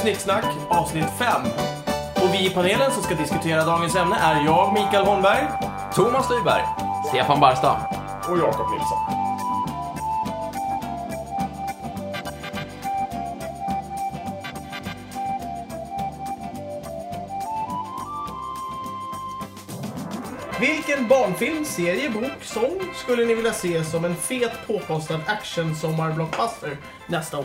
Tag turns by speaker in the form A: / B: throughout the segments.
A: Snicksnack avsnitt 5. Och vi i panelen som ska diskutera dagens ämne är jag, Mikael Holmberg.
B: Thomas Lyberg, Stefan Barstam.
A: Och Jakob Nilsson. Vilken barnfilm, serie, bok, sång skulle ni vilja se som en fet påkostad action sommarblockbuster nästa år?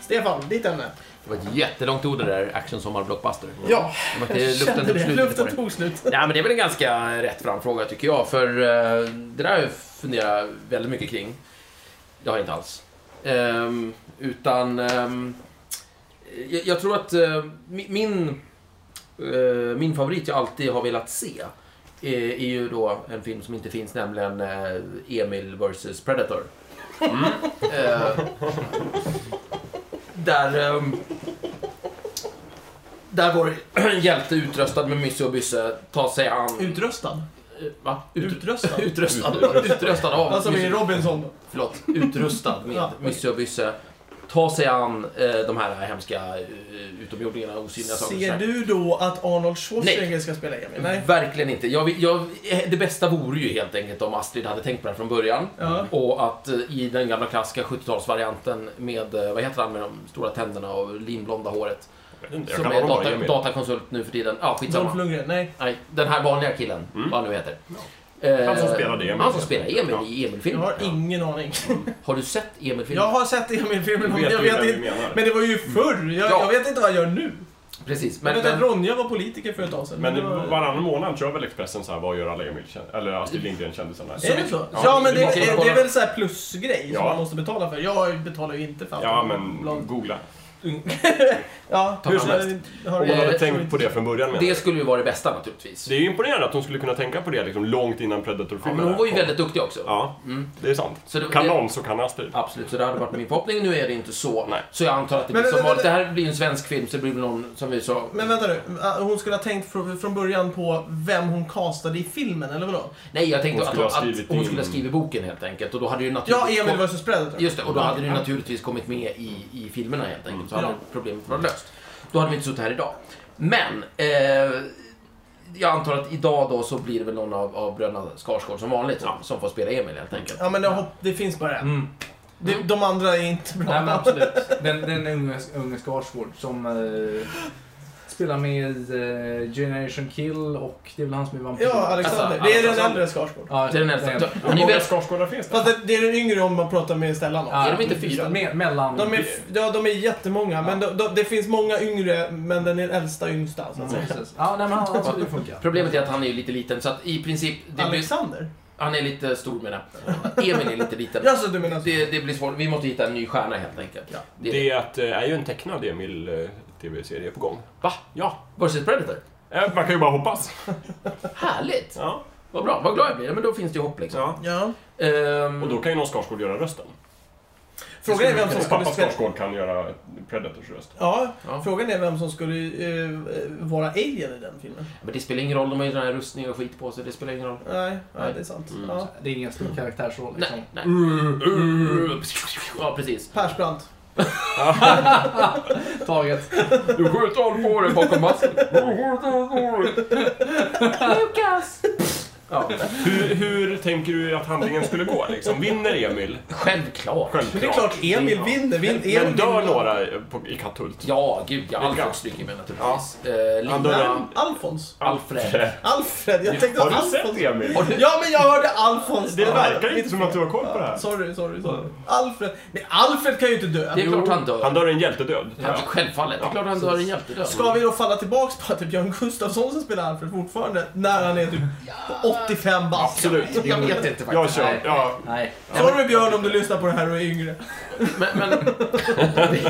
A: Stefan, ditt ämne.
B: Det var ett jättelångt ord det där, action sommar blockbuster.
A: Ja,
B: Men det-
A: jag
B: luften
A: kände
B: tog
A: det.
B: slut på
A: Luften
B: det.
A: tog slut.
B: Nej, men det är väl en ganska rätt fram fråga tycker jag, för eh, det där har jag funderat väldigt mycket kring. Det har jag inte alls. Ehm, utan ehm, jag, jag tror att eh, mi- min, eh, min favorit jag alltid har velat se är, eh, är ju då en film som inte finns, nämligen eh, Emil vs Predator. Eh, där... ehm, där vår hjälte utröstad med Mysse och Bysse tar sig an...
A: Utröstad.
B: eh, Va? Ut,
A: Utröstad.
B: utröstad.
A: Utröstad.
B: Utröstad av
A: Alltså
B: Mysse-
A: med Robinson.
B: Förlåt, utrustad med
A: Ja.
B: Mysse och Bysse. Ta sig an eh, de här hemska eh, utomjordingarna, osynliga
A: Ser
B: sakerna.
A: du då att Arnold Schwarzenegger ska spela
C: Mm.
A: Emil? Nej.
B: Verkligen inte. Jag, vill- jag, eh, det bästa vore ju helt enkelt om Astrid hade tänkt på det här från början.
C: Mm.
A: Ja.
B: Och att eh, i den gamla klassiska 70-talsvarianten med, eh, vad heter han med de stora tänderna och linblonda håret?
C: Jag
B: Som
C: kan
B: är
C: hålla
B: data,
C: med Emil.
B: datakonsult nu för tiden. Ja, skitsamma.
A: Dolph Lundgren? Nej.
B: Nej, den här vanliga killen, vad han nu heter. Eh,
C: Mm. Han som spelade Emil.
B: Han som spelade Emil i
A: Jag
B: Emil-filmen.
A: har ingen aning.
B: Har du sett Emil-filmen?
A: Jag har sett Emil-filmen, men
C: Vet
A: jag
C: du
A: vet
C: vem Mm. vi
A: inte.
C: menar?
A: Men det var ju förr. Jag,
B: Ja.
A: jag vet inte vad jag gör nu.
B: Precis.
A: Men,
B: Men,
A: jag vet att Ronja var politiker för ett tag sedan.
C: Men
A: det var...
C: varannan månad kör väl Expressen så här, vad gör alla Emil känd- Eller Astrid Lindgren-kändisarna?
A: Är det så?
C: Ja,
A: Ja, men det,
B: måste
A: det,
B: kolla.
A: är väl så här plusgrej som
C: Ja.
A: man måste betala för. Jag betalar ju inte för allt.
C: Ja, men
A: Bland-
C: googla.
A: Ja,
B: Ta
A: hur
B: fram
A: som
B: det.
A: helst. Har
C: Om man
A: jag-
C: hade
B: Eh,
C: tänkt på det från början menar
B: Det
C: jag.
B: skulle ju vara det bästa naturligtvis.
C: Det är ju imponerande att hon skulle kunna tänka på det liksom långt innan
B: Ja,
C: Predator-filmen.
B: men hon var ju
C: kom.
B: väldigt duktig också.
C: Ja, det är sant.
B: Så det-
C: kan
B: det-
C: någon så kan Astrid.
B: Absolut, så det hade varit min förhoppning. Nu är det inte så.
C: Nej.
B: Så jag antar att det
A: Men-
B: blir som
A: men-
B: vanligt. Det
A: men-
B: här blir ju en svensk film, så det blir väl någon, som vi sa...
A: Men vänta nu, ah, hon skulle ha tänkt fr- från början på vem hon castade i filmen, eller vadå?
B: Nej, jag tänkte
C: Hon
B: att,
C: skulle
B: att
C: ha
B: hon
C: skrivit in-
B: skulle ha skrivit boken helt enkelt. Och då hade ju
A: Ja,
B: naturligtvis...
A: Emil vs Predator.
B: Just det, och då hade det ju naturligtvis kommit med i, i filmerna helt enkelt. Så hade
A: Ja.
B: problemet varit löst. Då hade vi inte suttit här idag. Men, eh, jag antar att idag då så blir det väl någon av, av bröderna Skarsgård som vanligt som, som får spela Emil helt enkelt.
A: Ja, men det, hopp, det finns bara en.
D: Mm.
A: De, de andra är inte bra.
D: Nej men absolut. Den, den unge, unge Skarsgård som eh, spelar med eh, Generation Kill och det är väl han som är vampyr.
A: Ja, Alexander.
B: Alltså,
A: det är den
B: Alexander.
A: äldre Skarsgård.
D: Ja,
B: Det är den äldsta.
D: den.
B: Han är väl...
C: Skarsgårdar finns
A: Fast det, det är den yngre om man pratar med Stellan om.
D: Ja,
B: Är de inte fyra?
D: Me, mellan...
A: De är, f- ja, de är jättemånga, men de, de, det finns många yngre, men den är den äldsta yngsta.
B: Mm.
A: Så att säga.
D: Precis. Ja, nej, men han, han skulle funka.
B: Problemet är att han är ju lite liten, så att i princip... Det blir,
A: Alexander?
B: han är lite stor menar jag. Emil är lite liten.
A: Ja, så du menar så.
B: Det, det blir svårt. Vi måste hitta en ny stjärna helt enkelt.
A: Ja.
B: Det är det.
C: Det är, att, eh, är ju en tecknad Emil-tv-serie på gång.
B: Va?
C: Ja,
B: Versus Predator?
C: eh, man kan ju bara hoppas.
B: Härligt!
C: Ja,
B: Vad bra, vad glad jag blir. Ja, men då finns det ju hopp liksom.
C: ja.
A: Ja.
B: Ehm,
C: Och då kan ju någon Skarsgård göra rösten.
A: Frågan är vem som
C: Hennes
A: skulle
C: pappa
A: spela...
C: Skarsgård kan göra Predators röst.
A: Ja,
B: Ja.
A: frågan är vem som skulle eh, vara alien i den filmen.
B: Men det spelar ingen roll, de har ju den här rustningen och skit på sig. Det spelar ingen roll.
A: Nej, nej
B: Nej.
A: det är sant.
C: Mm.
A: Ja.
D: Det är ingen stor karaktärsroll liksom.
B: Nej, nej. Mm. Ja, precis.
A: Persbrandt.
D: Taget.
B: Du skjuter hål på dig bakom masken.
E: Lukas!
B: Ja.
C: Hur, hur tänker du att handlingen skulle gå? Liksom? Vinner Emil?
B: Självklart.
A: Men
C: Självklart.
A: det är klart, Emil vinner. Vin, Emil
C: Men dör
A: vinner.
C: några eh, på, i Katthult?
B: Ja, gud ja.
C: Vilka?
B: Alfred stryker med naturligtvis. Eh,
C: Han
B: Linda.
C: dör.
A: Nej, Alfons.
B: Alfred.
A: Alfred, jag tänkte
C: Har du sett
A: Alfons.
C: Emil?
B: Har du-
A: Ja, men jag hörde Alfons.
C: Det
A: Ja,
C: verkar
A: mitt
C: inte som att
A: fel.
C: du har koll på det här.
A: Sorry, sorry, sorry. Alfred. Nej, Alfred kan ju inte dö.
B: Det är klart han dör.
C: Han dör en hjältedöd.
B: Ja, självfallet. Det är klart han dör en hjältedöd.
A: Ska vi då falla tillbaks på att det är Björn Gustafsson som spelar Alfred fortfarande? När han är typ 85 bast.
C: Absolut.
B: Jag vet inte faktiskt.
C: Jag kör.
D: Nej.
C: Ja.
D: Nej.
A: Sorry Björn om du lyssnar på det här och är yngre.
B: Men, men vi,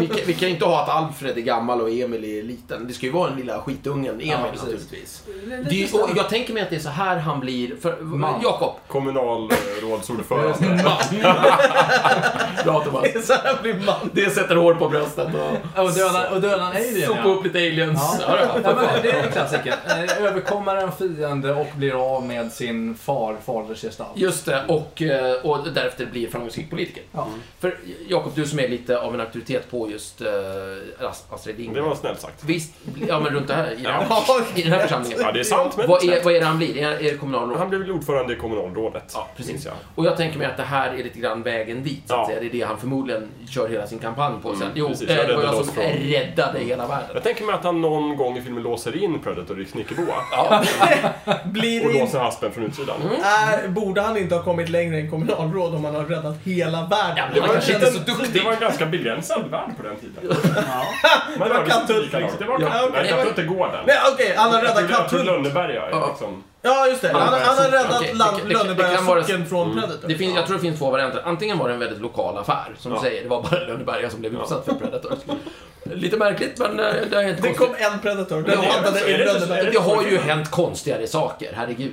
B: vi, kan, vi kan ju inte ha att Alfred är gammal och Emil är liten. Det ska ju vara den lilla skitungen Emil
D: Ja, precis.
B: naturligtvis. Det är, ju- och jag tänker mig att det är så här han blir. För,
D: Man.
B: Jakob.
C: eh, Kommunalrådsordförande.
B: Bra Thomas.
A: Det är så här blir man.
B: Det sätter hår på bröstet
D: Och döda, och döda en alien
B: sopa
D: ja.
B: upp lite aliens.
D: Ja.
B: Ja, det
D: Ja,
B: var-
D: men det är en klassiker. Eh, Överkommer en fiende och blir av med sin far, faders gestalt.
B: Just det, och, eh, och därefter blir framgångsrik politiker.
D: Ja.
B: För Jakob, du som är lite av en auktoritet på på just eh, Ast- Astrid
C: Det
B: Lindgren.
C: var snällt sagt.
B: Visst, ja men runt det här, i, den här,
A: Ja.
B: i den här församlingen.
C: Ja, det är sant, men
B: Vad är, vad är det han blir? Är, är det kommunalråd?
C: Han blev väl ordförande i kommunalrådet.
B: Ja, precis.
C: minns jag.
B: Och jag tänker mig att det här är lite grann vägen dit, så att
C: Ja.
B: säga. Det är det han förmodligen kör hela sin kampanj på sen.
C: Mm,
B: jo,
C: precis.
B: eh,
C: Jag
B: det var
C: räddade
B: jag
C: oss
B: som
C: från- Mm.
B: räddade hela världen.
C: Jag tänker mig att han någon gång i filmen låser in Predator i Knickeboa.
A: Blir
C: Och
A: det in...
C: låser haspen från utsidan.
A: Mm. är, borde han inte ha kommit längre än kommunalråd om han har räddat hela
B: Ja,
A: världen?
B: men han
C: en
B: kanske inte är så
C: liten-
B: duktig.
C: det var en ganska begränsad värld på den tiden. Man
A: Det var
C: rörde sig inte
A: Katthult,
C: lika långt.
A: liksom.
C: Det var
A: Ja,
C: Katthult.
A: okej.
C: Nej, Katthult är gården.
A: Nej okej, han har räddat Katthult.
C: Lönneberga
B: Ja.
C: är liksom...
A: Ja just det, han, han har räddat
B: Okej, det-
A: land-
B: det- det- det kan vara- mm.
A: Lönneberga socken från Predator.
B: Det finns, jag tror det finns två varianter. Antingen var det en väldigt lokal affär, som
C: Ja.
B: du säger. Det var bara Lönneberga som blev utsatt för Predator. Lite märkligt, men eh, det har hänt
A: Det kom
B: konstiga...
A: en Predator,
B: Ja, alltså,
A: den landade
C: är
A: i
C: det inte- är
A: Lönneberga.
B: Det har ju hänt konstigare saker, herregud.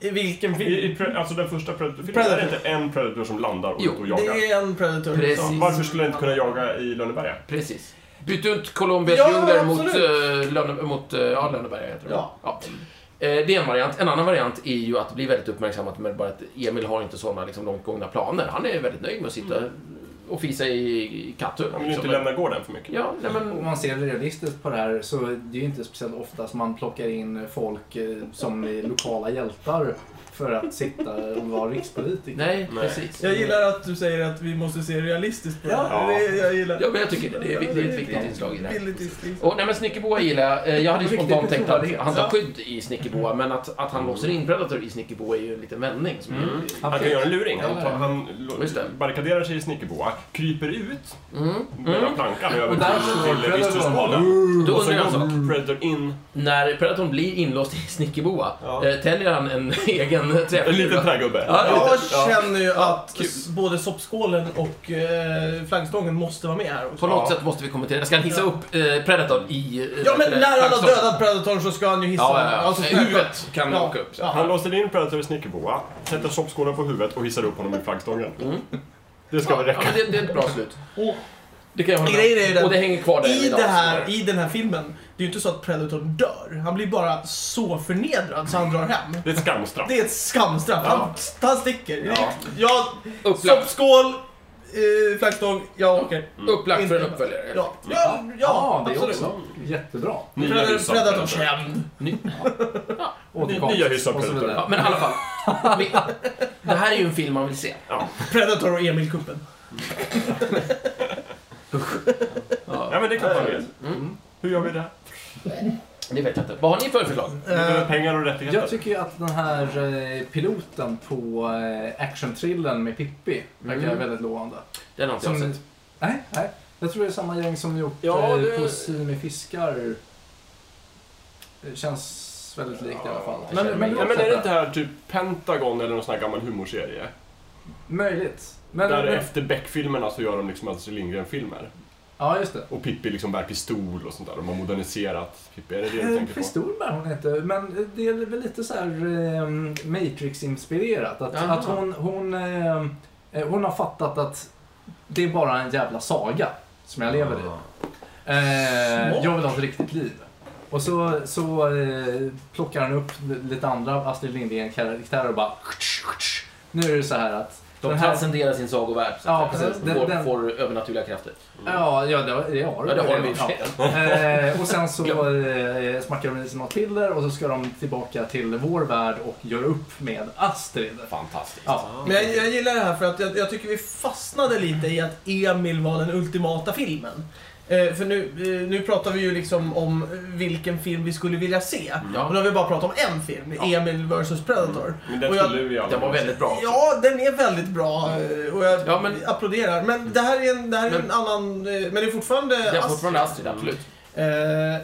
A: I vilken film?
C: I, i, pre- alltså den första Predator-filmen,
A: Predator.
C: är det inte en Predator som landar och,
B: Jo,
C: och
A: Det
C: jagar?
A: är en Predator. liksom.
B: Precis.
A: som-
C: Varför skulle jag inte kunna jaga i Lönneberga?
B: Precis. Byt ut Colombias
A: Ja,
B: djungler mot,
A: absolut.
B: uh, Lönne, mot uh, ja, Lönneberga, heter det.
A: Ja.
B: Eh, Det är en variant. En annan variant är ju att bli väldigt uppmärksammat med bara att Emil har inte sådana liksom, långt gångna planer. Han är väldigt nöjd med att sitta och fisa i i Katthult.
C: Han vill ju inte
B: liksom.
C: lämna gården för mycket.
B: Ja, nej
D: Om
B: men...
D: man ser realistiskt på det här så det är ju inte speciellt ofta som man plockar in folk eh, som är lokala hjältar för att sitta och vara rikspolitiker.
B: Nej,
C: Nej.
B: precis.
A: Jag gillar att du säger att vi måste se realistiskt på det här.
C: Ja.
A: Det, jag gillar.
B: Ja, men jag tycker det. Det är, det är ett viktigt inslag i det här.
A: Billigt inslag.
B: Och, nej, men Snickerboa gillar jag. Eh, Jag hade ju
D: Riktigt
B: spontant tänkt att
D: trovärdighet.
B: han tar
A: Ja.
B: skydd i Snickerboa, men att, att han låser in Predator i Snickerboa är ju en liten vändning. Som är...
C: Mm. Han kan göra en luring. Han, tar, han lo-
B: Just det.
C: barrikaderar sig i Snickerboa, kryper ut
B: Mm.
C: mellan plankan och över
D: Och där står
C: till, till
D: Predator.
C: Visthusbåden.
B: Då
C: Och
B: undrar jag en
C: så
B: sak.
C: går Predator in.
B: När Predatorn blir inlåst i Snickerboa,
C: Ja.
B: eh, tänjer han en egen
C: En
B: träffkula?
C: liten trägubbe.
B: Ja,
A: Jag
C: Ja.
A: känner ju att
C: kul.
A: s- både soppskålen och eh, flaggstången måste vara med här också.
B: På något
C: Ja.
B: sätt måste vi kommentera. Ska han hissa upp eh, Predator i... eh,
A: Ja men
B: eh,
A: när han har
B: Blackstone?
A: dödat Predatorn så ska han ju hissa
B: Ja, ja, ja.
A: Alltså,
B: Eh, Huvudet kan
A: Ja.
B: åka upp. Så.
A: Ja.
C: Han låser in Predator i Snickerboa, sätter soppskålen på huvudet och hissar upp honom i flaggstången. Det ska väl
B: Ja,
C: räcka.
B: men det, det är ett bra slut.
A: Och
B: Det kan jag hålla
A: Grejen är ju
B: med
A: den-
B: om. Och det hänger kvar där
A: i,
B: idag,
A: det här,
B: så.
A: I den här filmen, det är ju inte så att Predatorn dör. Han blir bara så förnedrad så han drar hem.
C: Det är ett skamstraff.
A: Det är ett skamstraff. Han, han sticker.
C: Ja.
A: Jag,
B: Upplagt,
A: soppskål, eh, flaggstång, jag åker.
B: upplagt för en
A: Inte-
B: uppföljare.
A: Ja, ja, ja
D: Ja, Ah, det är
A: absolut.
D: också jättebra.
C: Nya hyfsat Predator.
A: Predator känd.
B: Ny-
D: Återkomst
C: Nya hyfsat
D: och så
C: Predator.
B: Ja,
D: vidare.
B: men i alla fall. Vi- Det här är ju en film man vill se.
A: Predator och Emil-kuppen.
B: Ja,
C: Ja men det kan man väl.
B: Mm.
C: Hur gör vi det?
B: det vet jag inte. Vad har ni för förslag?
C: Vi
A: Eh,
C: behöver pengar och rättigheter.
D: Jag tycker ju att den här eh, piloten på eh, actionthrillern med Pippi verkar
B: Mm.
D: väldigt lovande.
B: Den har inte jag
D: Som,
B: sett.
D: nej, nej. Jag tror det är samma gäng som gjort
B: Ja,
D: ja,
B: det-
D: På syn med fiskar. Det känns väldigt likt i alla fall.
B: Men- men-
C: Ja, men är det inte här typ Pentagon eller någon sån här gammal humorserie?
D: Möjligt. Men,
C: Där
D: men,
C: efter Beck-filmerna så gör de liksom Astrid Lindgren-filmer.
D: ja, just det.
C: Och Pippi liksom bär pistol och sånt där. De har moderniserat Pippi. Är det det du
D: Eh,
C: tänker på?
D: Pistol bär hon inte, men eh, det är väl lite så här ehm, Matrix-inspirerat. Att,
B: Jaha.
D: att hon, hon, ehm, eh, hon har fattat att det är bara en jävla saga som jag lever i. Eh,
A: Smart.
D: jag vill ha ett riktigt liv. Och så, så eh, plockar han upp lite andra Astrid Lindgren-karaktärer och bara... Nu är det så här att...
B: De
D: den här-
B: transcenderar sin sagovärld. så att
D: Ja,
B: säga.
D: precis.
B: De
D: Den-
B: Får,
D: den-
B: får övernaturliga krafter.
D: Ja, ja, det har det har
B: Ja, det har de i
D: redan.
B: och för sig.
D: Eh, och sen så eh, smackar de i sig något piller och så ska de tillbaka till vår värld och göra upp med Astrid.
B: Fantastiskt.
D: Ja.
A: Men jag, jag gillar det här för att jag, jag tycker vi fastnade lite i att Emil var den ultimata filmen. Eh, för nu, eh, nu pratar vi ju liksom om vilken film vi skulle vilja se.
B: Ja.
A: Och nu har vi bara pratat om en film, Emil vs Predator.
C: Men den
A: Och jag-
C: skulle vi aldrig
B: Den var väldigt bra.
A: Ja, den är väldigt bra eh, och jag
B: Ja, men-
A: applåderar. Men det här är en, det här är en
B: Men-
A: annan... eh, Men det är fortfarande...
B: Det är
A: Astrid.
B: fortfarande Astrid, absolut.
A: Eh,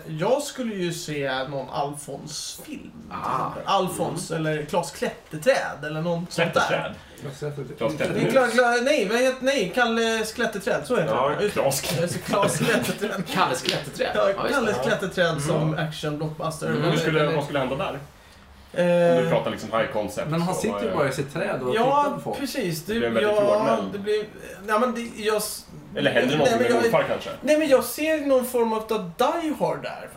A: jag skulle ju se någon Alfons-film. till
B: Ah.
A: exempel. Alfons eller Klas Klätterträd eller någon sånt där.
C: Klätterträd.
A: Det är Kla, Kla, nej, vad heter nej, Kalles Klätterträd, så heter
C: Ja,
A: det.
C: Klas
A: Just det, Klas Klätterträd.
B: Kalles klätterträd.
A: Ja,
B: Ja, just det.
A: Kalles Klätterträd som Eh, action-blockbuster.
B: Mm.
C: Hur skulle, vad skulle hända där? Om du
A: Eh,
C: pratar liksom high concept.
D: Men han
C: så
D: sitter
C: vad
D: ju
C: är-
D: bara i sitt träd och tittar
A: Ja,
D: på folk.
A: precis. Det,
C: Det blir en väldigt
A: ja,
C: lågmäld.
A: det blir... Nej, men det, jag... s-
C: Eller händer det
A: Nej,
C: någonting
A: men
C: med
A: jag-
C: morfar kanske?
A: Nej men jag ser någon form av Die Hard där faktiskt.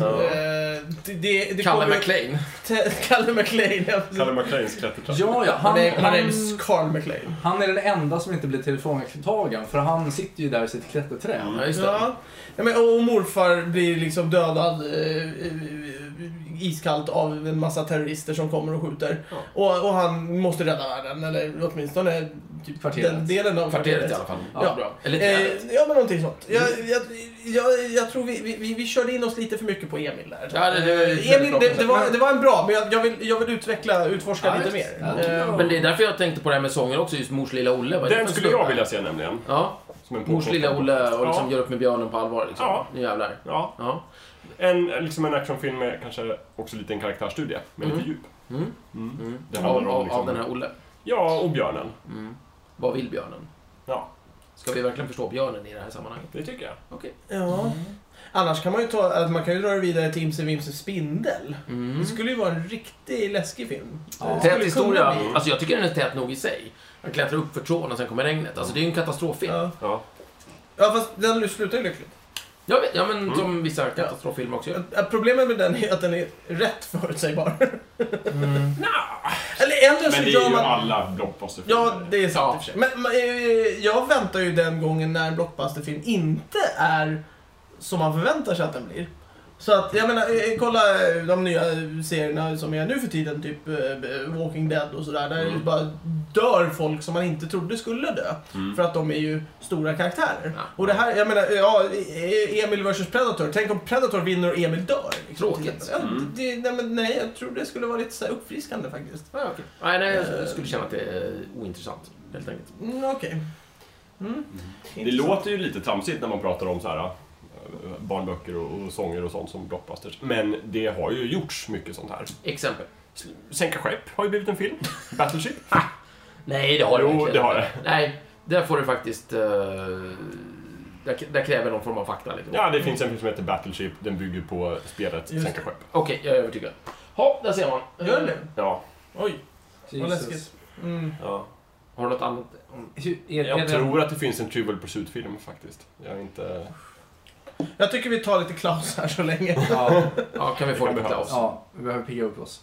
B: Mm.
C: Ja.
A: Eh, det, det, det
B: Kalle
A: kommer-
B: McLean.
A: Te- Kalle McLean. ja, precis.
C: Kalle McLeans klättertrapp.
D: Ja, ja.
A: My
D: Han,
A: name, my
D: han,
A: name's Carl McLean.
D: han är den enda som inte blir telefontagen för han sitter ju där i sitt klätterträd.
B: Ja, just det.
A: Ja. Ja, men, och morfar blir liksom dödad eh, eh, iskallt av en massa terrorister som kommer och skjuter.
C: Ja.
A: Och, och han måste rädda världen, eller åtminstone typ
D: Kvarteret.
A: den delen av
B: Kvarteret i alla fall.
A: Ja.
B: bra. Eller trädet.
A: Eh, ja, men någonting sånt. Jag, jag, jag, jag tror vi, vi- vi, vi körde in oss lite för mycket på Emil där.
B: Ja, det- det var ju
A: Eh,
B: väldigt
A: Emil,
B: bra
A: det, det,
B: koncept.
A: var, det var en bra, men jag, jag, vill, jag vill utveckla, utforska
B: Ja,
A: lite
B: just-
A: mer.
D: ja,
A: Eh,
B: Men det är därför jag tänkte på det här med sånger också, just Mors lilla Olle. Vad är det för
C: Den
B: en
C: skulle
B: snubbe?
C: jag vilja se nämligen.
B: Ja,
C: Som en
B: Mors lilla Olle och liksom
C: Ja.
B: gör upp med björnen på allvar. Liksom.
C: Ja.
B: Nu jävlar.
C: Ja,
B: Ja.
C: en, liksom en actionfilm med kanske också lite en karaktärstudie, men lite djup.
B: Mm.
C: Mm.
B: Mm.
C: Det handlar
B: Av,
C: om
B: av,
C: liksom-
B: av den här Olle.
C: Ja, och björnen.
B: Mm. Vad vill björnen?
C: Ja,
B: Ska vi verkligen förstå björnen i det här sammanhanget?
C: det tycker jag.
B: Okej.
A: Eh, Ja. Annars kan man ju ta, att man kan ju dra det vidare till Imse Vimse Spindel.
B: Mm.
A: Det skulle ju vara en riktigt läskig film.
D: Ja.
A: Det skulle
B: Tät
A: kunna
B: historia.
A: bli-
B: Alltså jag tycker den är tät nog i sig. Han klättrar upp för tråden och sen kommer regnet. Alltså det är ju en katastroffilm.
A: Ja.
C: Ja.
A: ja, fast den slutar ju lyckligt.
B: Jag vet, ja men som vissa katastroffilmer också gör.
A: Att- att Problemet med den är att den är rätt förutsägbar.
D: Mm.
A: Eller ändå
C: Men
A: så
C: det är
A: gör
C: ju
A: man...
C: alla blockbusterfilmer.
A: Ja, det är sant
B: Ja.
A: i och för sig. Men, men eh, jag väntar ju den gången när en blockbusterfilm inte är som man förväntar sig att den blir. Så att, jag menar, eh, kolla eh, de nya serierna som är nu för tiden, typ eh, Walking Dead och sådär, där det
C: Mm.
A: bara dör folk som man inte trodde skulle dö.
C: Mm.
A: För att de är ju stora karaktärer.
B: Ja.
A: Och det här, jag menar, eh, ja, eh, Emil vs Predator. Tänk om Predator vinner och Emil dör. Liksom, till
B: Tråkigt.
A: exempel. Ja,
C: Mm.
A: det, nej, men, nej, jag tror det skulle vara lite så här uppfriskande faktiskt.
B: Ja, okej. Nej, nej, jag skulle känna att det är ointressant. Helt enkelt.
A: Mm, Okej. Mm.
C: Det låter ju lite tramsigt när man pratar om så här eh, barnböcker och, och sånger och sånt som blockbusters. Men det har ju gjorts mycket sånt här.
B: Exempel.
C: Sänka skepp har ju blivit en film. Battleship.
B: Nej, det har
C: Jo,
B: det verkligen
C: det har
B: inte. Nej, där får du faktiskt... eh, där, där kräver någon form av fakta. Liksom.
C: Ja, det finns en film som heter Battleship. Den bygger på spelet
A: Just
C: Sänka skepp.
B: Okej, jag är övertygad. Ja, där ser man.
A: Gör det?
C: Ja.
A: Oj, vad läskigt. Mm.
C: ja.
B: Har du något annat?
D: Hur- Är, är
C: Jag
D: det-
C: tror att det finns en Trivial Pursuit-film faktiskt. Jag är inte...
A: Jag tycker vi tar lite Klaus här så länge.
D: Ja,
B: Ja, kan vi få
C: Det kan
B: lite Klaus?
C: behövas.
D: ja, vi behöver pigga upp oss.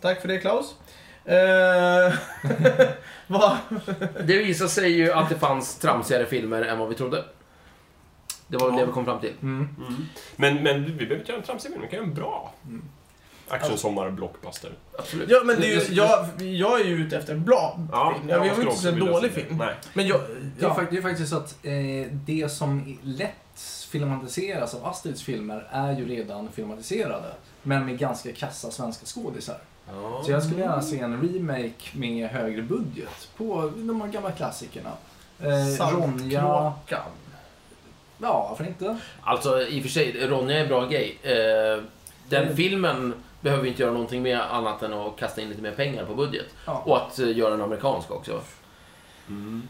A: Tack för det Klaus. Eh, vad-
B: Det visar sig ju att det fanns tramsigare filmer än vad vi trodde. Det var väl
C: Ja.
B: det vi kom fram till.
D: Mm.
C: Men, men vi behöver inte göra en tramsig film. Vi kan göra en bra. Action-sommar-blockbuster.
B: Absolut.
A: Mm. ja, men det är ju, jag, jag är ju ute efter en bra film. Jag vill
C: skulle
A: ju inte
C: också
A: se en
C: vilja
A: dålig
C: se det.
A: film.
C: Nej.
A: Men jag...
D: Det är,
A: Ja.
D: fakt- det är faktiskt så att eh, det som lätt filmatiseras av Astrids filmer är ju redan filmatiserade. Men med ganska kassa svenska skådisar.
B: Ja.
D: Så jag skulle gärna se en remake med högre budget på de här gamla klassikerna. Eh, Ronja...
A: Saltkråkan.
D: Ja, varför inte?
B: Alltså i och för sig, Ronja är en bra grej. Eh, Den
D: Mm.
B: filmen behöver vi inte göra någonting med annat än att kasta in lite mer pengar på budget.
D: Ja.
B: Och att eh, göra en amerikansk också.
A: Mm.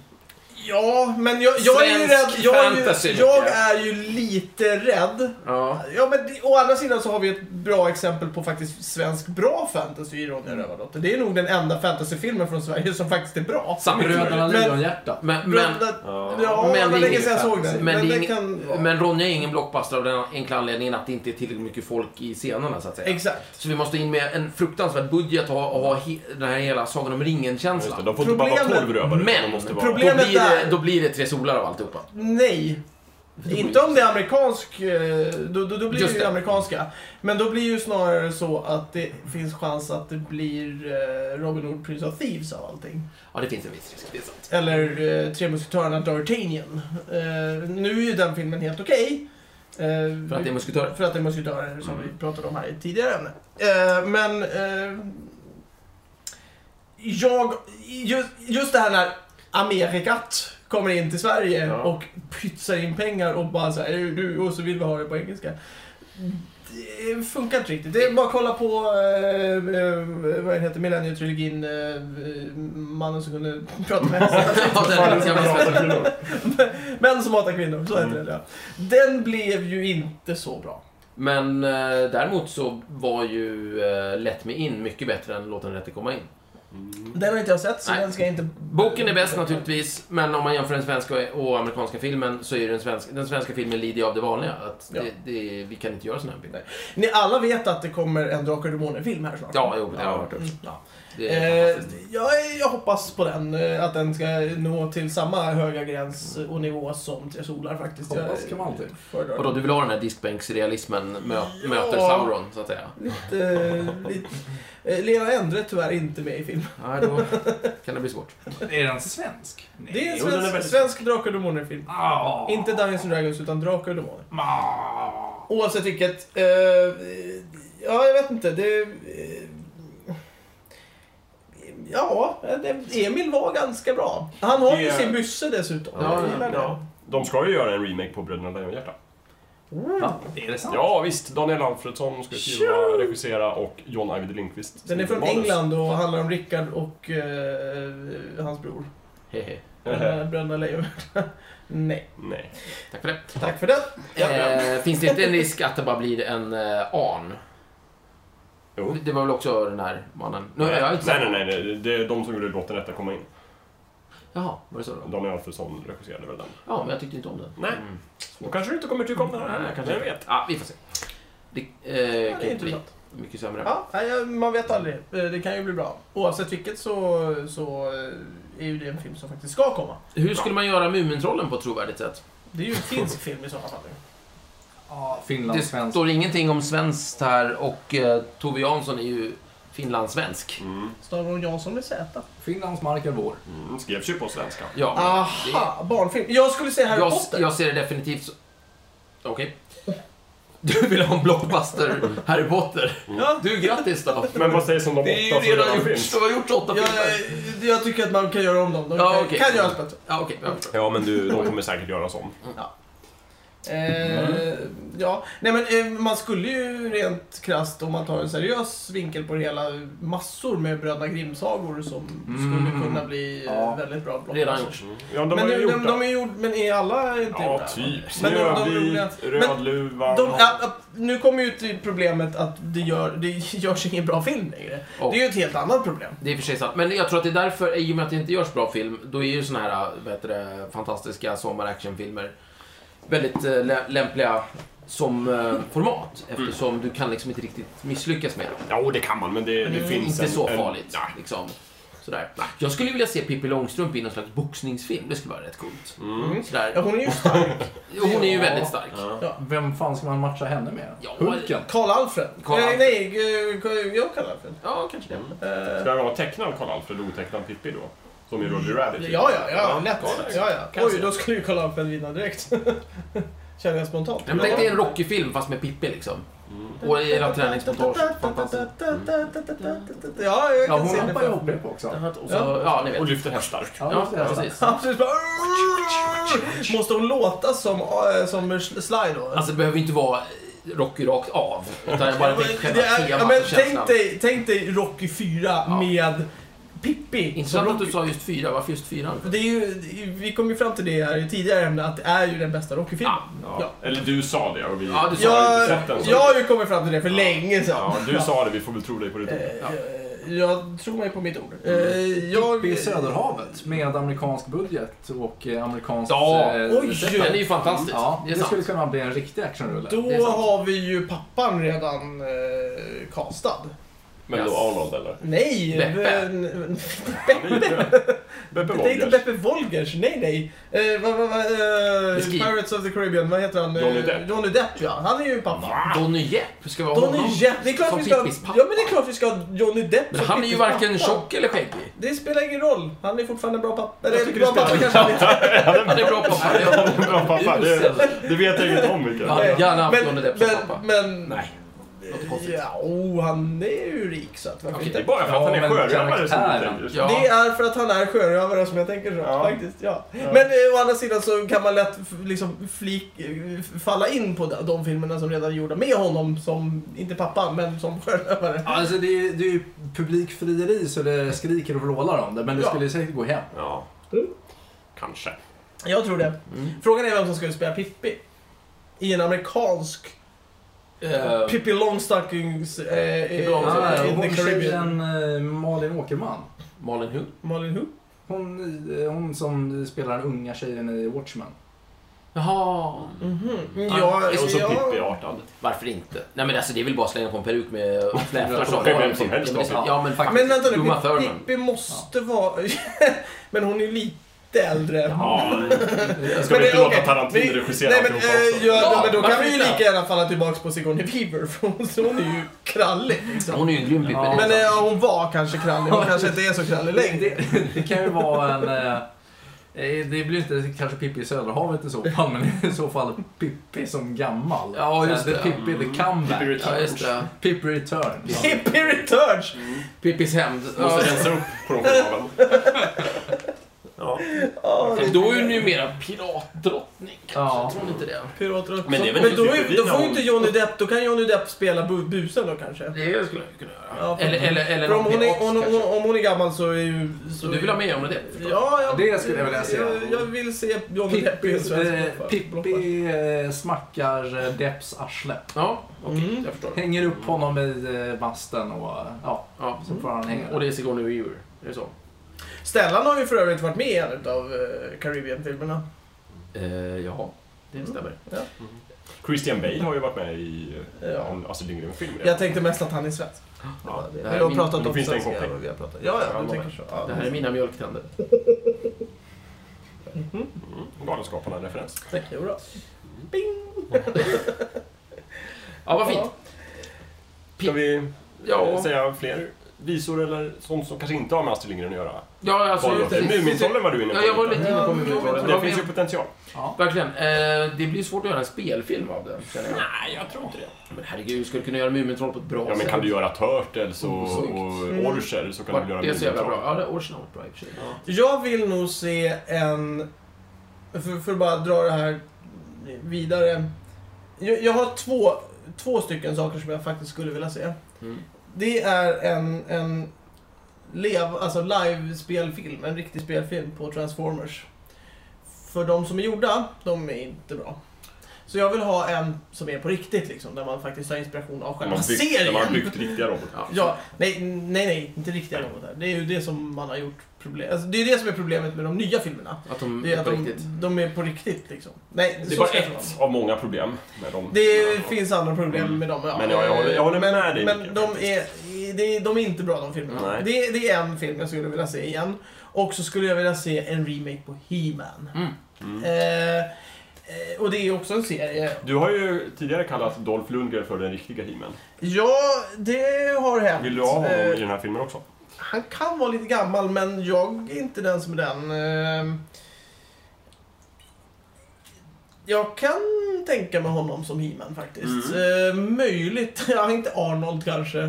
A: Ja, men jag, jag är ju
B: Svensk
A: rädd. Jag är
B: fantasy,
A: ju,
B: mycket.
A: jag är ju lite rädd
B: Ja.
A: Ja, men det, å andra sidan så har vi ett bra exempel på faktiskt svensk bra fantasy i Ronja Rövardotter. Det är nog den enda fantasyfilmen från Sverige som faktiskt är bra.
B: Samma
D: Bröderna
A: Men-
D: Lejonhjärta.
B: Men, men,
A: Bröderna...
C: Ja.
A: Ja,
B: men
A: men
B: det
A: det
B: är
A: var länge
B: ingen
A: sedan jag såg
D: fantasy.
A: den.
B: Men
A: Men,
B: det är
A: det
B: ingen-
A: kan... ja.
B: men Ronja är ingen blockbuster av den enkla anledningen att det inte är tillräckligt mycket folk i scenerna så att säga.
A: Exakt.
B: Så vi måste in med en fruktansvärd budget och ha, och ha he, den här hela Sagan om ringen-känslan.
C: Just det, de får inte bara vara
A: Problemet-
C: 12 rövare. utan
B: Men
C: de måste vara...
A: problem-
B: Då blir,
A: Problemet
B: det,
A: är-
B: då blir det tre solar av alltihopa.
A: Nej. Inte om det är amerikansk, eh, då, då, då blir
B: Just
A: det ju
B: det.
A: amerikanska. Men då blir ju snarare så att det finns chans att det blir eh, Robin Hood Prince of Thieves av allting.
B: Ja, det finns en viss risk. Det är sant.
A: Eller eh, Tre Musketörerna D'Artagnan. Eh, nu är ju den filmen helt okej. Eh,
B: För att det är musketörer.
A: För att det är musketörer som
B: Mm.
A: vi pratade om här i ett tidigare ämne. Eh, men... Eh, jag... Just, just det här när Amerikat kommer in till Sverige
C: Ja.
A: och pytsar in pengar och bara såhär, du, du, och så vill vi ha det på engelska. Det funkar inte riktigt. Det är bara att kolla på, eh, eh, vad den heter, Millennium-trilogin, eh, eh, mannen som kunde prata med hästar.
B: Ja, det är ganska bra.
A: Män som hatar kvinnor, så heter
C: Mm.
A: den ja. Den blev ju inte så bra.
B: Men eh, däremot så var ju eh, Let Me In mycket bättre än Låt den rätte komma in.
C: Mm.
A: Den har inte jag sett, så
B: Nej.
A: den ska jag inte...
B: Boken är bäst naturligtvis, men om man jämför den svenska och amerikanska filmen så är ju den svenska, den svenska filmen lider ju av det vanliga. Att
A: Ja.
B: det, det, vi kan inte göra såna här bilder.
A: Ni alla vet att det kommer en Drakar och Demoner-film här snart.
B: Ja, jo, det har jag hört
A: Mm,
B: också.
A: ja.
B: Det är
A: Eh,
B: fantastiskt.
A: jag, jag hoppas på den, eh, att den ska nå till samma höga gräns och nivå som Tre Solar faktiskt.
D: Hoppas
A: Jag
D: kan man alltid.
A: föredrar
B: Vadå, du vill ha den här diskbänksrealismen mö,
A: Ja.
B: möter Sauron, så att säga?
A: lite, eh, lite. eh, Lena Endre är tyvärr inte med i filmen.
B: Nej, då kan det bli svårt.
D: Är den svensk? Nej.
A: Det är en
C: Jo, den är
A: svensk,
C: väldigt-
A: svensk Drakar och Demoner-film.
D: Ah.
A: Inte Dungeons and Dragons, utan Drakar och Demoner.
D: Ah.
A: Oavsett vilket. Eh, ja, jag vet inte. Det... Eh, ja, det, Emil var ganska bra. Han har ju
C: Det-
A: sin bysse dessutom.
B: Ja,
A: jag gillar
B: ja, ja.
C: De ska ju göra en remake på Bröderna Lejonhjärta.
D: Va? Är det sant?
C: Ja, visst. Daniel Alfredsson ska skriva,
A: Tjo!
C: regissera och John Ajvide Lindqvist.
A: det. Den är från
C: Manus.
A: England och handlar om Rickard och eh, hans bror.
B: Hehe.
A: Eh, Bröderna Lejonhjärta. Nej.
C: Nej.
B: Tack för det.
A: Tack för det. Ja.
B: Eh, finns det inte en risk att det bara blir en eh, Arn?
C: Jo.
B: Det var väl också den här mannen? Nu,
C: nej,
B: jag har inte sett-
C: nej, nej, nej. Det är de som gjorde Låt den rätta komma in.
B: Jaha, var det så då?
C: Daniel Alfredsson regisserade väl den.
B: Ja, men jag tyckte inte om den.
C: Nej.
B: Mm.
C: Då kanske du inte kommer tycka om den här.
B: Nej, kanske
C: Vem
B: inte.
C: vet?
B: Ja, vi får se. Det eh,
A: Ja,
B: kan
A: det är
B: ju inte bli
A: intressant.
B: mycket sämre.
A: Ja, nej, jag- man vet aldrig. Eh, Det kan ju bli bra. Oavsett vilket så, så eh, är ju det en film som faktiskt ska komma.
B: Hur skulle man göra Mumintrollen på ett trovärdigt sätt?
A: Det är ju en finsk film i sådana fall.
D: Ah,
B: Det
D: Finlandssvensk.
B: står ingenting om svenskt här och eh, Tove Jansson är ju finlandssvensk.
C: Mm.
A: Stavar hon Jansson med Z?
D: Finlands mark är vår.
C: Mm. Skrevs ju på svenska.
B: Ja, det-
A: Aha, barnfilm. Jag skulle säga Ah, Harry
B: jag,
A: Potter.
B: jag ser det definitivt så... Okej. Du vill ha en blockbuster Harry Potter?
A: Ja.
B: Du, grattis då!
C: Men vad sägs om de
B: Det
C: åtta
B: är
C: som
B: ju redan
C: redan
B: gjort.
C: finns?
B: Du har gjort åtta
A: Jag,
B: filmer.
A: jag tycker att man kan göra om dem. De
B: Ja,
A: kan,
B: okej.
A: kan göras bättre.
B: Ja, okej. jag förstår.
C: Ja, men du, de kommer säkert göras om.
A: Eh,
B: Mm.
A: ja. Nej, men, eh, man skulle ju rent krasst, om man tar en seriös vinkel på det hela, massor med Bröderna Grimm-sagor som skulle
B: Mm.
A: kunna bli eh,
D: Ja.
A: väldigt bra. blockbusters.
B: Redan gjort.
C: Mm. Ja, de
A: men
C: har ju gjort
A: de,
C: det.
A: de är gjord, men är alla inte
C: Ja,
A: gjorda?
C: typ.
A: Men de- de- de-
C: Snövit,
A: men-
C: Rödluvan.
A: De, ja, ja, nu kommer ju till problemet att det, gör, det görs ingen bra film längre.
B: Och-
A: Det är ju ett helt annat problem.
B: Det är i och för sig sant. Men jag tror att det är därför, i och med att det inte görs bra film, då är ju såna här vad heter det, fantastiska sommaractionfilmer väldigt eh, lä- lämpliga som eh, format.
A: Mm.
B: Eftersom du kan liksom inte riktigt misslyckas med dem.
C: Ja, och det kan man, men det, det
A: Mm,
C: finns
B: Inte
C: en...
B: så
C: en-
B: farligt.
C: Ja.
B: Liksom. Sådär. Jag skulle vilja se Pippi Långstrump i någon slags boxningsfilm. Det skulle vara rätt coolt.
C: Mm.
A: Ja,
B: Sådär.
A: hon är ju stark.
B: Hon är ju
D: Ja.
B: väldigt stark.
C: Ja.
D: Vem fan ska man matcha henne med?
B: Ja,
D: Hulken?
A: Karl-Alfred.
B: Karl
A: Eh,
B: Alfred.
A: nej, eh, jag Karl-Alfred.
B: Ja, kanske det.
A: Eh,
C: Ska det vara tecknad Karl-Alfred och otecknad Pippi då? Som i Roger Rabbit? typ.
A: ja, ja, ja, lätt.
C: Karl-Alfred.
A: Ja, ja.
B: Kan
A: Oj,
B: se.
A: då skulle ju Karl-Alfred vinna direkt. Känner jag spontant.
B: Men tänk dig en Rocky-film fast med Pippi liksom.
C: Mm.
B: Och era träningsmontage. Fantastiskt.
A: Ja, jag
D: Ja,
A: kan
D: hon
A: se det.
D: hoppar ju upp
A: framför mig.
D: det på också.
B: Och så, ja, ni vet.
C: Och lyfter hästar.
B: Ja,
D: det är sant.
B: precis.
A: Absolut. Bara- Måste hon låta som, eh, som Sly då?
B: Alltså det behöver inte vara Rocky rakt av. Utan jag bara tänker själva
A: Det är- ja,
B: temat
A: men
B: och känslan.
A: tänk, dig, tänk dig Rocky 4
B: Ja.
A: med Pippi.
B: Intressant
A: som
B: att
A: Rocky.
B: du sa just fyra. Varför just fyran?
A: Det är ju, vi kom ju fram till det här i tidigare ämne att det är ju den bästa Rocky-filmen.
B: Ja.
A: Ja.
C: Ja. Eller du sa det och vi
B: Ja, du sa
C: har
A: Jag,
C: inte sett den. så-
A: jag har ju kommit fram till det för
C: Ja.
A: länge sedan.
C: Ja, du sa det, vi får väl tro dig på ditt ord.
A: Eh,
B: Ja.
A: Jag tror mig på mitt ord.
C: Mm.
A: Eh, Jag...
D: Pippi i Söderhavet med amerikansk budget och eh, amerikansk...
B: Ja,
D: eh,
A: oj.
D: recept.
B: Den är ju fantastisk.
D: Ja,
B: det är
D: det
B: sant.
D: skulle kunna bli en riktig actionrulle.
B: Det är
A: Då
B: sant.
A: har vi ju pappan redan eh, castad.
C: Men
B: Yes.
C: då Arnold eller?
A: Nej! eh,
B: Beppe.
A: men-
C: Han är ju- Beppe
A: Jag tänkte
C: Wolgers.
A: Beppe Wolgers, nej nej. Eh, vad- vad- vad, eh,
B: Beskriv.
A: Pirates of the Caribbean, vad heter han? Eh,
C: Johnny Depp.
A: Johnny Depp ja, han är ju pappa.
B: Donny Jepp, ska vi ha
A: Donny
B: honom
A: Depp, det är klart
B: som
A: vi ska ha,
B: Pippis
A: ja, men det är klart vi ska ha Johnny Depp
B: Men
A: som
B: han är ju
A: Pippis
B: varken
A: pappa.
B: tjock eller skäggig.
A: Det spelar ingen roll, han är fortfarande en bra pappa.
C: Jag
A: Eller
C: tycker
A: bra
C: det
A: pappa
C: spelar-
A: kanske han inte är.
B: Han är bra pappa. Det är
C: Bra pappa. Det,
B: usel.
C: det vet jag inget om Mikael.
B: Jag hade gärna haft
A: Men-
B: Johnny Depp som pappa.
A: Men, men,
B: Nej. Låter konstigt.
A: ja, oh, han är ju rik så att varför
B: Okej,
C: Det är
A: inte?
C: bara för att
D: Ja,
C: han är
D: men
C: sjörövare som du
D: karaktären.
C: tänker. så.
B: Ja.
A: Det är för att han är sjörövare som jag tänker så.
C: Ja.
A: Faktiskt, ja. Men eh, å andra sidan så kan man lätt f- liksom flik, eh, falla in på de- de filmerna som redan är gjorda med honom som, inte pappa, men som sjörövare.
D: Alltså det är, det är ju publikfrieri så det skriker och vrålar om det, men det
A: Ja.
D: skulle säkert gå hem.
C: Ja.
A: Mm.
C: Kanske.
A: Jag tror det. Frågan är vem som skulle spela Pippi. I en amerikansk
B: Eh,
A: Pippi Longstockings eh,
B: Pippi
A: eh,
B: Longstocking.
D: Ah,
B: så-
A: in
D: hon
A: the Caribbean.
D: tjejen eh, Malin Åkerman.
B: Malin Hu.
A: Malin Who?
D: Hon, eh, hon som spelar den unga tjejen i Watchmen.
B: Jaha.
A: Mhm.
B: Ja,
A: Ja,
C: Och så
A: ja,
C: Pippi-artad.
B: Mm. Varför inte? Nej men alltså det är väl bara att slänga på en peruk med flätor
C: Ja, vem som helst har
B: Ja men faktiskt.
A: Men vänta nu,
B: Uma
A: Pippi-
B: Thurman.
A: Pippi måste vara... men hon är ju lite äldre.
C: Ja. Ska
A: Men
C: vi
A: det-
C: inte låta
A: okej,
C: Tarantino
A: vi-
C: regissera
A: Nej men,
C: alltihopa
A: eh,
C: också?
A: ja,
B: Ja,
A: men då kan
B: varför
A: vi ju
B: inte?
A: lika gärna falla tillbaka på Sigourney Weaver för hon, hon är ju krallig. Liksom.
B: Hon är ju en grym Pippi.
D: Ja.
B: det är
A: Men
B: sant.
A: eh, hon var kanske krallig, hon kanske inte är så krallig längre.
D: Det, det kan ju vara en... eh, eh, Det blir inte kanske Pippi i Söderhavet i så fall, men i så fall Pippi som gammal.
B: Ja, just
D: Så här,
B: det.
D: Pippi
A: Mm.
D: the comeback.
C: Pippi Returns.
B: Ja just det.
D: Pippi Returns.
A: Pippi Returns!
B: Pippis hämnd. Ja.
C: Måste rensa upp på de skivbolagen. Ja.
D: Ah.
A: Ja, det-
B: Då är hon ju mera piratdrottning kanske.
D: Ja.
B: Tror ni inte det?
A: Pirater och-
C: Men det är väl
A: men
C: inte
A: då, är,
B: typ
C: superfint
A: då
C: när
A: får ju
C: hon-
A: inte Johnny Depp, då kan Johnny Depp spela bu- busen då kanske.
B: Det skulle jag kunna göra.
A: Ja, för-
B: eller, eller, eller
A: För om
B: någon
A: hon, är,
B: pirat
A: om,
B: kanske.
A: om, om hon är gammal så är ju...
B: Så du vill ha med Johnny Depp? förstås?
A: Ja, jag,
D: Det skulle jag vilja se.
A: Jag, jag vill se Johnny Depp i
D: Pippi,
A: en svensk
D: eh,
A: blockbuster.
D: Pippi eh, smackar eh, Depps arsle.
B: Ja, okej.
A: Mm.
B: Jag förstår.
D: Hänger upp honom i eh, masten och eh, ja,
B: Ja.
D: så får
A: Mm.
D: han hänga.
B: Och det är Sigourney Weaver. Är det så?
A: Stellan har ju för övrigt varit med i en av eh, Caribbean-filmerna.
B: Eh, jaha. Det stämmer.
C: Christian Bale har ju varit med i eh,
A: Ja.
C: en Astrid Lindgren-film.
A: Jag tänkte mest att han är svensk.
C: Ja.
A: Vi
B: det här är
A: har
B: min-
A: pratat
C: då
A: om
C: finns det en
A: svenska.
C: koppling.
A: Vi har pratat. Ja, ja,
C: Ja,
A: du
C: men-
A: tänker så. Ja.
B: Det här är mina mjölktänder.
C: Mm. Galenskaparna-referens.
A: Tack, jodå. Bing!
B: Ja, vad fint.
C: Ska vi eh,
B: Ja, alltså,
C: säga fler visor eller sånt som kanske inte har med Astrid Lindgren att göra?
B: ja alltså...
C: Alltså,
B: precis.
C: Mumintrollen var du inne på.
B: Ja, jag var lite inne på
A: Ja,
B: Mumintrollen.
C: Det finns ju potential.
D: Ja.
B: Verkligen. Eh, det blir svårt att göra en spelfilm av den, känner jag.
C: Nej, jag tror inte det.
B: Men herregud, du skulle kunna göra Mumintroll på ett bra
C: Ja, men kan du göra Turtles och,
B: Oh, snyggt.
C: och Orcher så kan
B: Vart
C: du göra
B: det är så jävla
C: Mumintroll.
B: bra. Ja, det är original bra i och för sig.
A: Jag vill nog se en... För, för att bara dra det här vidare. Jag, jag har två, två stycken saker som jag faktiskt skulle vilja se.
B: Mm.
A: Det är en, en lev, alltså live-spelfilm, en riktig spelfilm på Transformers. För de som är gjorda, de är inte bra. Så jag vill ha en som är på riktigt liksom, där man faktiskt har inspiration av
C: När
A: själva
C: man byggt- när
A: serien.
C: man har byggt riktiga robotar.
B: Ja.
A: Ja, nej, nej, nej, inte riktiga robotar. Det är ju det som man har gjort problem. Alltså, det är det som är problemet med de nya filmerna.
B: Att de
A: Det är att
B: på
A: de,
B: riktigt.
A: de är på riktigt liksom. Nej,
C: Mm, Det är
A: så
C: bara
A: ska det vara.
C: ett av många problem med dem.
A: Det finns andra problem med dem.
C: Men jag- jag håller- jag håller
A: men,
C: med dig,
A: Men
C: Mikael,
A: de är, de, de är inte bra de filmerna.
C: Nej.
A: Det, det är en film jag skulle vilja se igen. Och så skulle jag vilja se en remake på He-Man.
B: Mm.
C: Mm.
A: Eh, eh, och det är också en serie.
C: Du har ju tidigare kallat Dolph Lundgren för den riktiga He-Man.
A: Ja, det har hänt.
C: Vill du ha honom
A: Eh,
C: i den här filmen också?
A: Han kan vara lite gammal, men jag är inte den som är den. Eh, Jag kan tänka mig honom som He-Man faktiskt. Eh, Möjligt. Ja, inte Arnold kanske.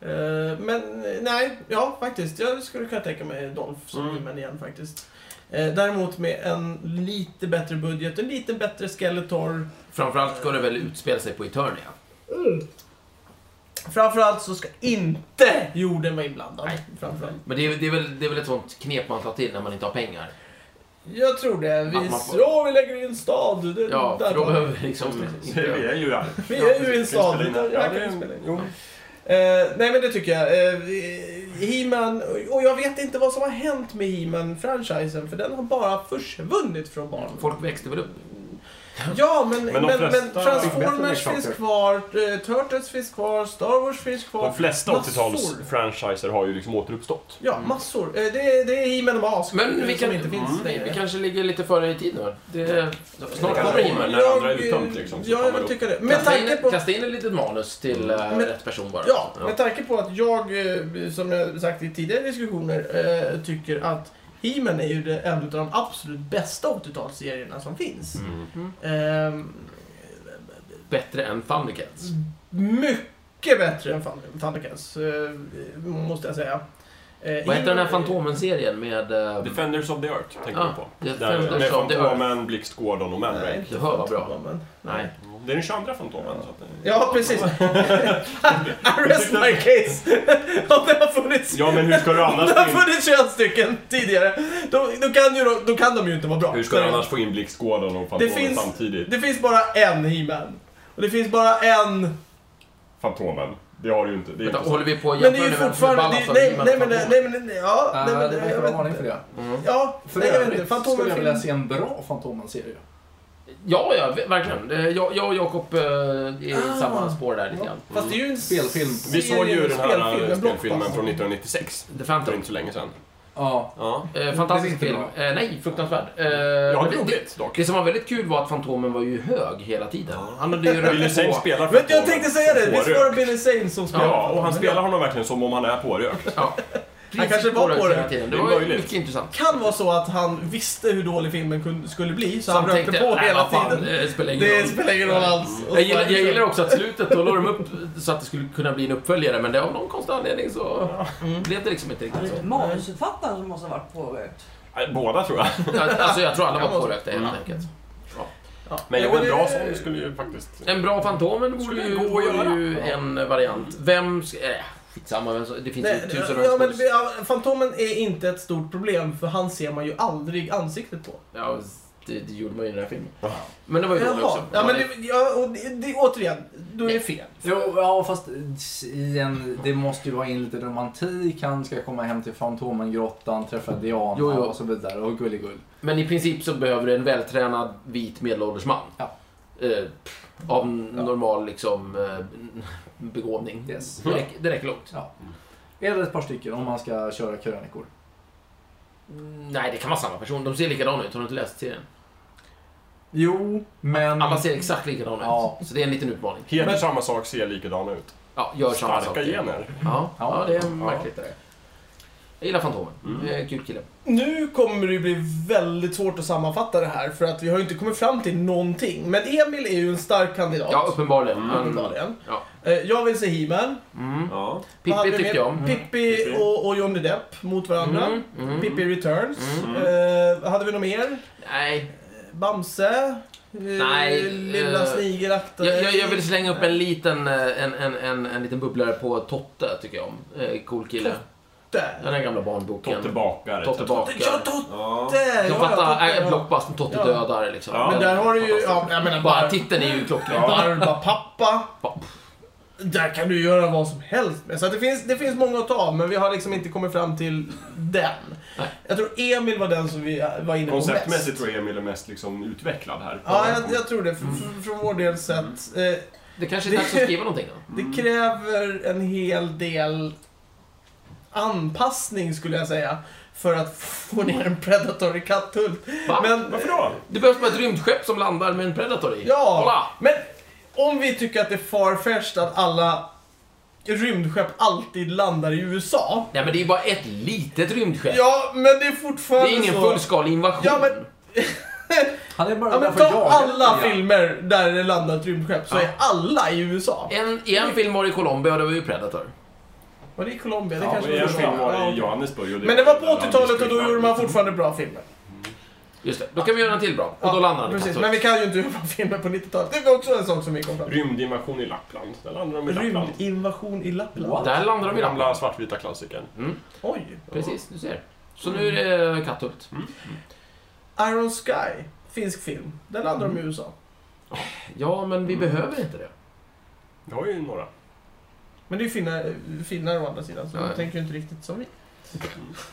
A: Eh, Men eh, nej, ja faktiskt. Jag skulle kunna tänka mig Dolph som
C: Mm.
A: He-Man igen faktiskt. Eh, Däremot med en lite bättre budget, en lite bättre Skeletor.
B: Framförallt ska det väl utspela sig på Eternia.
A: Framförallt så ska inte jorden vara inblandad.
B: Nej.
A: Framförallt.
B: Men det är, det, är väl, det är väl ett sånt knep man tar till när man inte har pengar.
A: Jag tror det. Vi,
B: Att man får-
A: ja, vi lägger i en stad. Det,
B: Ja,
A: där
B: för då
A: tar vi.
B: behöver vi liksom...
A: Mm.
C: Vi är ju här.
A: vi
B: ja,
A: är ju i en
C: Vi
A: stad.
C: spelar in
A: Det
C: här.
A: där
C: Ja,
A: kan
C: det
A: vi
C: är-
A: spela in.
C: jo.
A: Eh, nej men det tycker jag. Eh, He-Man, och jag vet inte vad som har hänt med He-Man-franchisen för den har bara försvunnit från barn.
B: Folk växte väl upp.
A: Ja, men, men,
C: Men de
A: men,
C: flesta-
A: Transformers
D: Bättre
A: finns
D: leksaker.
A: kvar, eh, Turtles finns kvar, Star Wars finns kvar.
C: De flesta
A: massor.
C: 80-tals-franchiser har ju liksom återuppstått.
A: Ja, massor. Eh, Det, det är He-Man och Mask
B: Men
A: eh,
B: vi
A: som
B: kan-
A: inte finns
C: Mm.
A: längre.
B: Vi kanske ligger lite före i tid nu. Det, snart
C: Det kan
B: kommer
C: det
B: Himmel.
C: vara. när andra är
A: Jag,
C: uttömt,
A: eh,
C: liksom, så
A: Ja,
C: tar man
A: jag
C: upp.
A: tycker det. Med
B: Kasta
A: tanke
B: in,
A: på...
B: kasta in ett litet manus till eh,
A: Men-
B: rätt person bara.
A: Ja,
B: Ja.
A: med tanke på att jag, eh, som jag sagt i tidigare diskussioner, eh, tycker att He-Man är ju det, en av de absolut bästa 80-talsserierna som finns.
C: Mm.
A: Ehm,
B: Bättre än
A: Mm.
B: Thundercats.
A: mycket bättre än Thund- Thundercats, eh, måste jag säga. Eh,
B: Vad heter den här
A: He-Man-
B: Fantomen-serien med... eh,
C: Defenders of the Earth tänker
B: Ja,
C: du på.
B: Defenders
C: Där, med
B: of the Earth.
C: Fantomen, Blixt, Gordon och
A: Nej,
C: Mandrake.
A: inte
B: Det var bra.
A: Fantomen.
B: Nej.
C: Det är den 22 Fantomen. Så att det...
A: Ja, precis. I rest my case. Om det har funnits,
C: Ja, men hur ska du
A: om
C: annars
A: det har
C: få in...
A: funnits 21 stycken tidigare, då, då, kan ju, de- då kan de ju inte vara bra.
C: Hur ska du annars få in Blixt, Gordon och Fantomen
A: finns-
C: samtidigt?
A: Det finns bara en He-Man. Och det finns bara en...
C: Fantomen. Det har du ju inte. Det är
B: Vänta,
C: inte
B: håller vi på att
A: Men det är ju
B: jämföra nu vem som är
A: fortfarande...
B: ballast
A: Det,
B: av
A: nej,
B: He-Man
A: nej,
B: och Fantomen?
A: men... Nej, men... Ja,
D: Ah,
A: nej, men...
D: det verkar
A: jag
D: vara
A: vet
D: varning
A: inte.
D: för det.
B: Mm.
A: Ja,
D: För
A: nej, jag
D: övrigt
A: vet inte.
D: skulle jag
A: Fantomen
D: vilja
A: finns.
D: se en bra Fantomen-serie.
B: Ja, ja, ve- verkligen. Eh, Jag, jag och Jakob eh, är i
A: Ah.
B: samma spår där lite
A: Ja,
B: grann.
A: Fast det är ju en
D: Spelfilm.
C: Vi såg ju den här eh,
A: spelfilm,
C: spelfilmen,
A: en blockbuster.
C: från 1996.
B: The
C: För
B: Phantom.
C: inte så länge sedan.
D: Ja.
C: Ja.
B: Eh,
D: Det är
B: fantastisk
D: inte
B: film.
D: bra.
B: Eh, nej, fruktansvärd. Eh,
C: Jag
B: men
C: har
B: det, det,
C: roligt dock.
B: det som var väldigt kul var att Fantomen var ju hög hela tiden. Han hade ju
C: Billy
B: rökt
C: Zane
B: på.
C: spelar
A: Vet du, jag
C: Fantomen
A: tänkte säga det.
C: på
A: Visst
C: rök.
A: var det Billy Zane som spelade?
C: Ja, och han
A: Fantomen?
C: spelar honom verkligen som om han är pårökt.
B: Ja.
A: Han kanske var
B: Precis
A: på det.
B: hela tiden. Det
C: Det är
B: var ju
C: möjligt.
B: mycket intressant.
A: kan vara så att han visste hur dålig filmen kun- skulle bli, så, han
B: Så
A: rökte på
B: "Nej,
A: hela
B: vad fan,
A: tiden.
B: Det spelar ingen
A: Det
B: roll.
A: spelar ingen roll alls. Och
B: Jag gillar,
A: så-
B: jag gillar också att slutet, då la de upp så att det skulle kunna bli en uppföljare, men det av någon konstig anledning så
A: Mm.
B: blev det liksom inte riktigt så.
E: Manusförfattaren som måste ha varit pårökt.
C: Eh, Båda tror jag.
B: Alltså jag tror alla
A: Ja,
B: var pårökta helt enkelt.
A: Ja.
C: Men
A: Ja,
C: jo, en bra
A: det-
C: sån skulle ju faktiskt...
B: En bra Fantomen vore
C: Skulle
B: ju,
C: gå att
B: vore
C: göra.
B: ju en variant. Vem ska... Äh, skitsamma, vem som, det finns
A: Nej,
B: ju tusen
A: ja, men,
B: skådis-
A: ja, Fantomen är inte ett stort problem, för han ser man ju aldrig ansiktet på.
B: Ja, det, det gjorde man ju i den här filmen. Men det var ju dålig
A: Jaha.
B: också.
A: Ja, men det, ja, och det, det, återigen, då är det fel.
D: Jo, ja, fast i en, det måste ju vara in lite romantik. Han ska komma hem till Fantomengrottan, träffa Diana
B: Jo, jo.
D: och så vidare. Och gulligull.
B: Men i princip så behöver du en vältränad vit medelålders man.
D: Ja.
B: Eh, pff, av n-
D: Ja.
B: normal liksom eh, begåvning.
D: Yes.
B: Det, räcker, det räcker långt.
D: Ja. Eller ett par stycken om man ska köra krönikor.
B: Mm, Nej, det kan vara samma person. De ser likadana ut. Har du inte läst serien?
D: Jo,
A: Mm.
D: men...
B: Alla ser exakt likadana
D: Ja.
B: ut. Så det är en liten utmaning.
C: Heter
A: Men-
C: samma sak, ser likadana ut.
B: Ja, gör samma sak.
C: Starka gener.
B: Ja. ja, det är
D: Ja.
B: märkligt. det där. Jag gillar Fantomen.
C: Mm.
B: Eh, Kul kille.
A: Nu kommer det ju bli väldigt svårt att sammanfatta det här, för att vi har ju inte kommit fram till någonting. Men Emil är ju en stark kandidat.
B: Ja, uppenbarligen.
C: Mm.
B: Men-
A: uppenbarligen.
B: Ja.
A: Eh, Jag vill se He-Man.
B: Mm.
C: Ja.
A: Vad hade
B: Pippi
A: vi
B: tyckte
A: mer?
B: jag om.
A: Pippi och, och Johnny Depp mot varandra.
B: Mm, mm.
A: Pippi Returns.
B: Mm.
A: Eh, hade vi något mer?
B: Nej,
A: Bamse? Eh,
B: Nej,
A: Lilla
B: eh,
A: snigelaktiga...
B: jag, jag, jag vill slänga upp en liten, eh, en, en, en, en liten bubblare på Totte, tycker jag om. Eh, Cool kille. Den
A: Totte!
B: här gamla barnboken.
C: Totte bakare.
B: Totte bakare.
A: Ja, Totte!
C: Ja.
A: Ja,
B: Jag
A: ja,
B: fattar,
A: Totte,
B: äh,
A: ja.
B: blockbuster, Totte
A: Ja.
B: dödar liksom.
C: Ja.
A: Men där har du ju... Ja, jag menar
B: Bara
A: bara...
B: titeln är ju klockren.
A: Barbapappa.
B: Ja.
A: Där kan du göra vad som helst med. Så att det, finns, det finns många att ta av, men vi har liksom inte kommit fram till den.
B: Nej.
A: Jag tror Emil var den som vi äh, var inne på mest.
C: Konceptmässigt tror jag Emil är mest liksom utvecklad här.
A: Ja, jag, jag tror det. För, för, för vår del sett. Eh,
B: Det kanske är dags att skriva någonting då.
C: Mm.
A: det kräver en hel del anpassning skulle jag säga. För att få ner en Predator i katthult.
B: Va?
A: Men,
C: Varför då?
B: Det behövs bara ett rymdskepp som landar med en Predator i.
A: Ja,
B: Kolla!
A: men om vi tycker att det är farfetched att alla rymdskepp alltid landar i USA.
B: Nej men det är bara ett litet rymdskepp.
A: Ja, men det är
B: det
A: fortfarande
B: är ingen
A: så.
B: fullskalig invasion.
A: Ja, men-
D: Han är bara
A: Ja,
D: där
A: men
D: för att
A: ta
D: jaga
A: alla
D: lite grann.
A: filmer där det landar ett rymdskepp så
B: Ja.
A: är alla i USA.
B: En, I en film var det Colombia och det var ju Predator.
A: Var det i Colombia? Det
C: Ja,
A: kanske
C: men
A: var
C: en
A: USA.
C: film var
A: Ja.
C: i Johannesburg. och
A: Men det var på
C: där han
A: 80-talet och då
C: skulle-
A: gjorde man fortfarande bra filmer.
B: Just det, då kan vi göra en till bra. Och
A: Ja,
B: då landar han i
A: Precis,
B: katthult.
A: men vi kan ju inte göra bra filmer på 90-talet. Det var också en sak som vi kom fram till.
C: Rymdinvasion i Lappland. Där landade de i Lappland.
A: Rymdinvasion i Lappland.
D: What?
B: Där landar de i Lappland.
C: Gamla svartvita klassikern.
A: Oj.
B: Precis, du ser. Så nu är det Katthult.
A: Iron Sky, finsk film. Den landar de i USA.
B: Ja, men vi
A: Mm.
B: behöver inte det.
C: Vi har ju några.
A: Men det är ju finnar, finnar å andra sidan, så
B: Ja, ja.
A: de Mm. tänker ju inte riktigt som vi.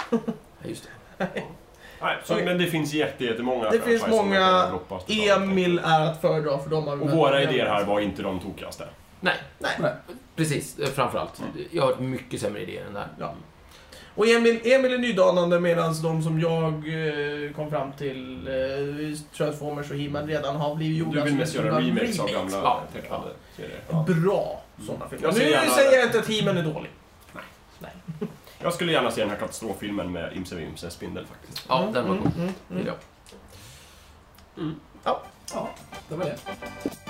B: Ja, just det.
C: Nej, så, men det finns jätte- jättemånga
A: Det finns
C: franchiser som
A: många
C: heter Blockbuster som jag
A: Emil
C: tänker.
A: är att föredra för de har vi
C: Och
A: väl-
C: våra idéer här var inte de tokigaste.
B: Nej,
A: Nej.
B: precis. eh, Framförallt. Jag har hört mycket sämre idéer än det här.
A: Ja. Och Emil, Emil är nydanande medan de som jag eh, kom fram till, eh, Transformers och He-Man redan har blivit gjorda.
C: Du vill
A: som
C: mest
A: är
C: göra
A: stora
C: remakes av
A: alltså, remakes.
C: gamla
B: Ja.
C: tecknade serier.
A: Bra sådana filmer.
C: Jag ser
A: nu
C: gärna-
A: säger jag inte att He-Man är dålig.
C: Jag skulle gärna se den här katastroffilmen med Imse Vimse Spindel faktiskt.
B: Ja, den var cool.
A: mm, mm, mm.
B: Ja.
D: Ja, det var det.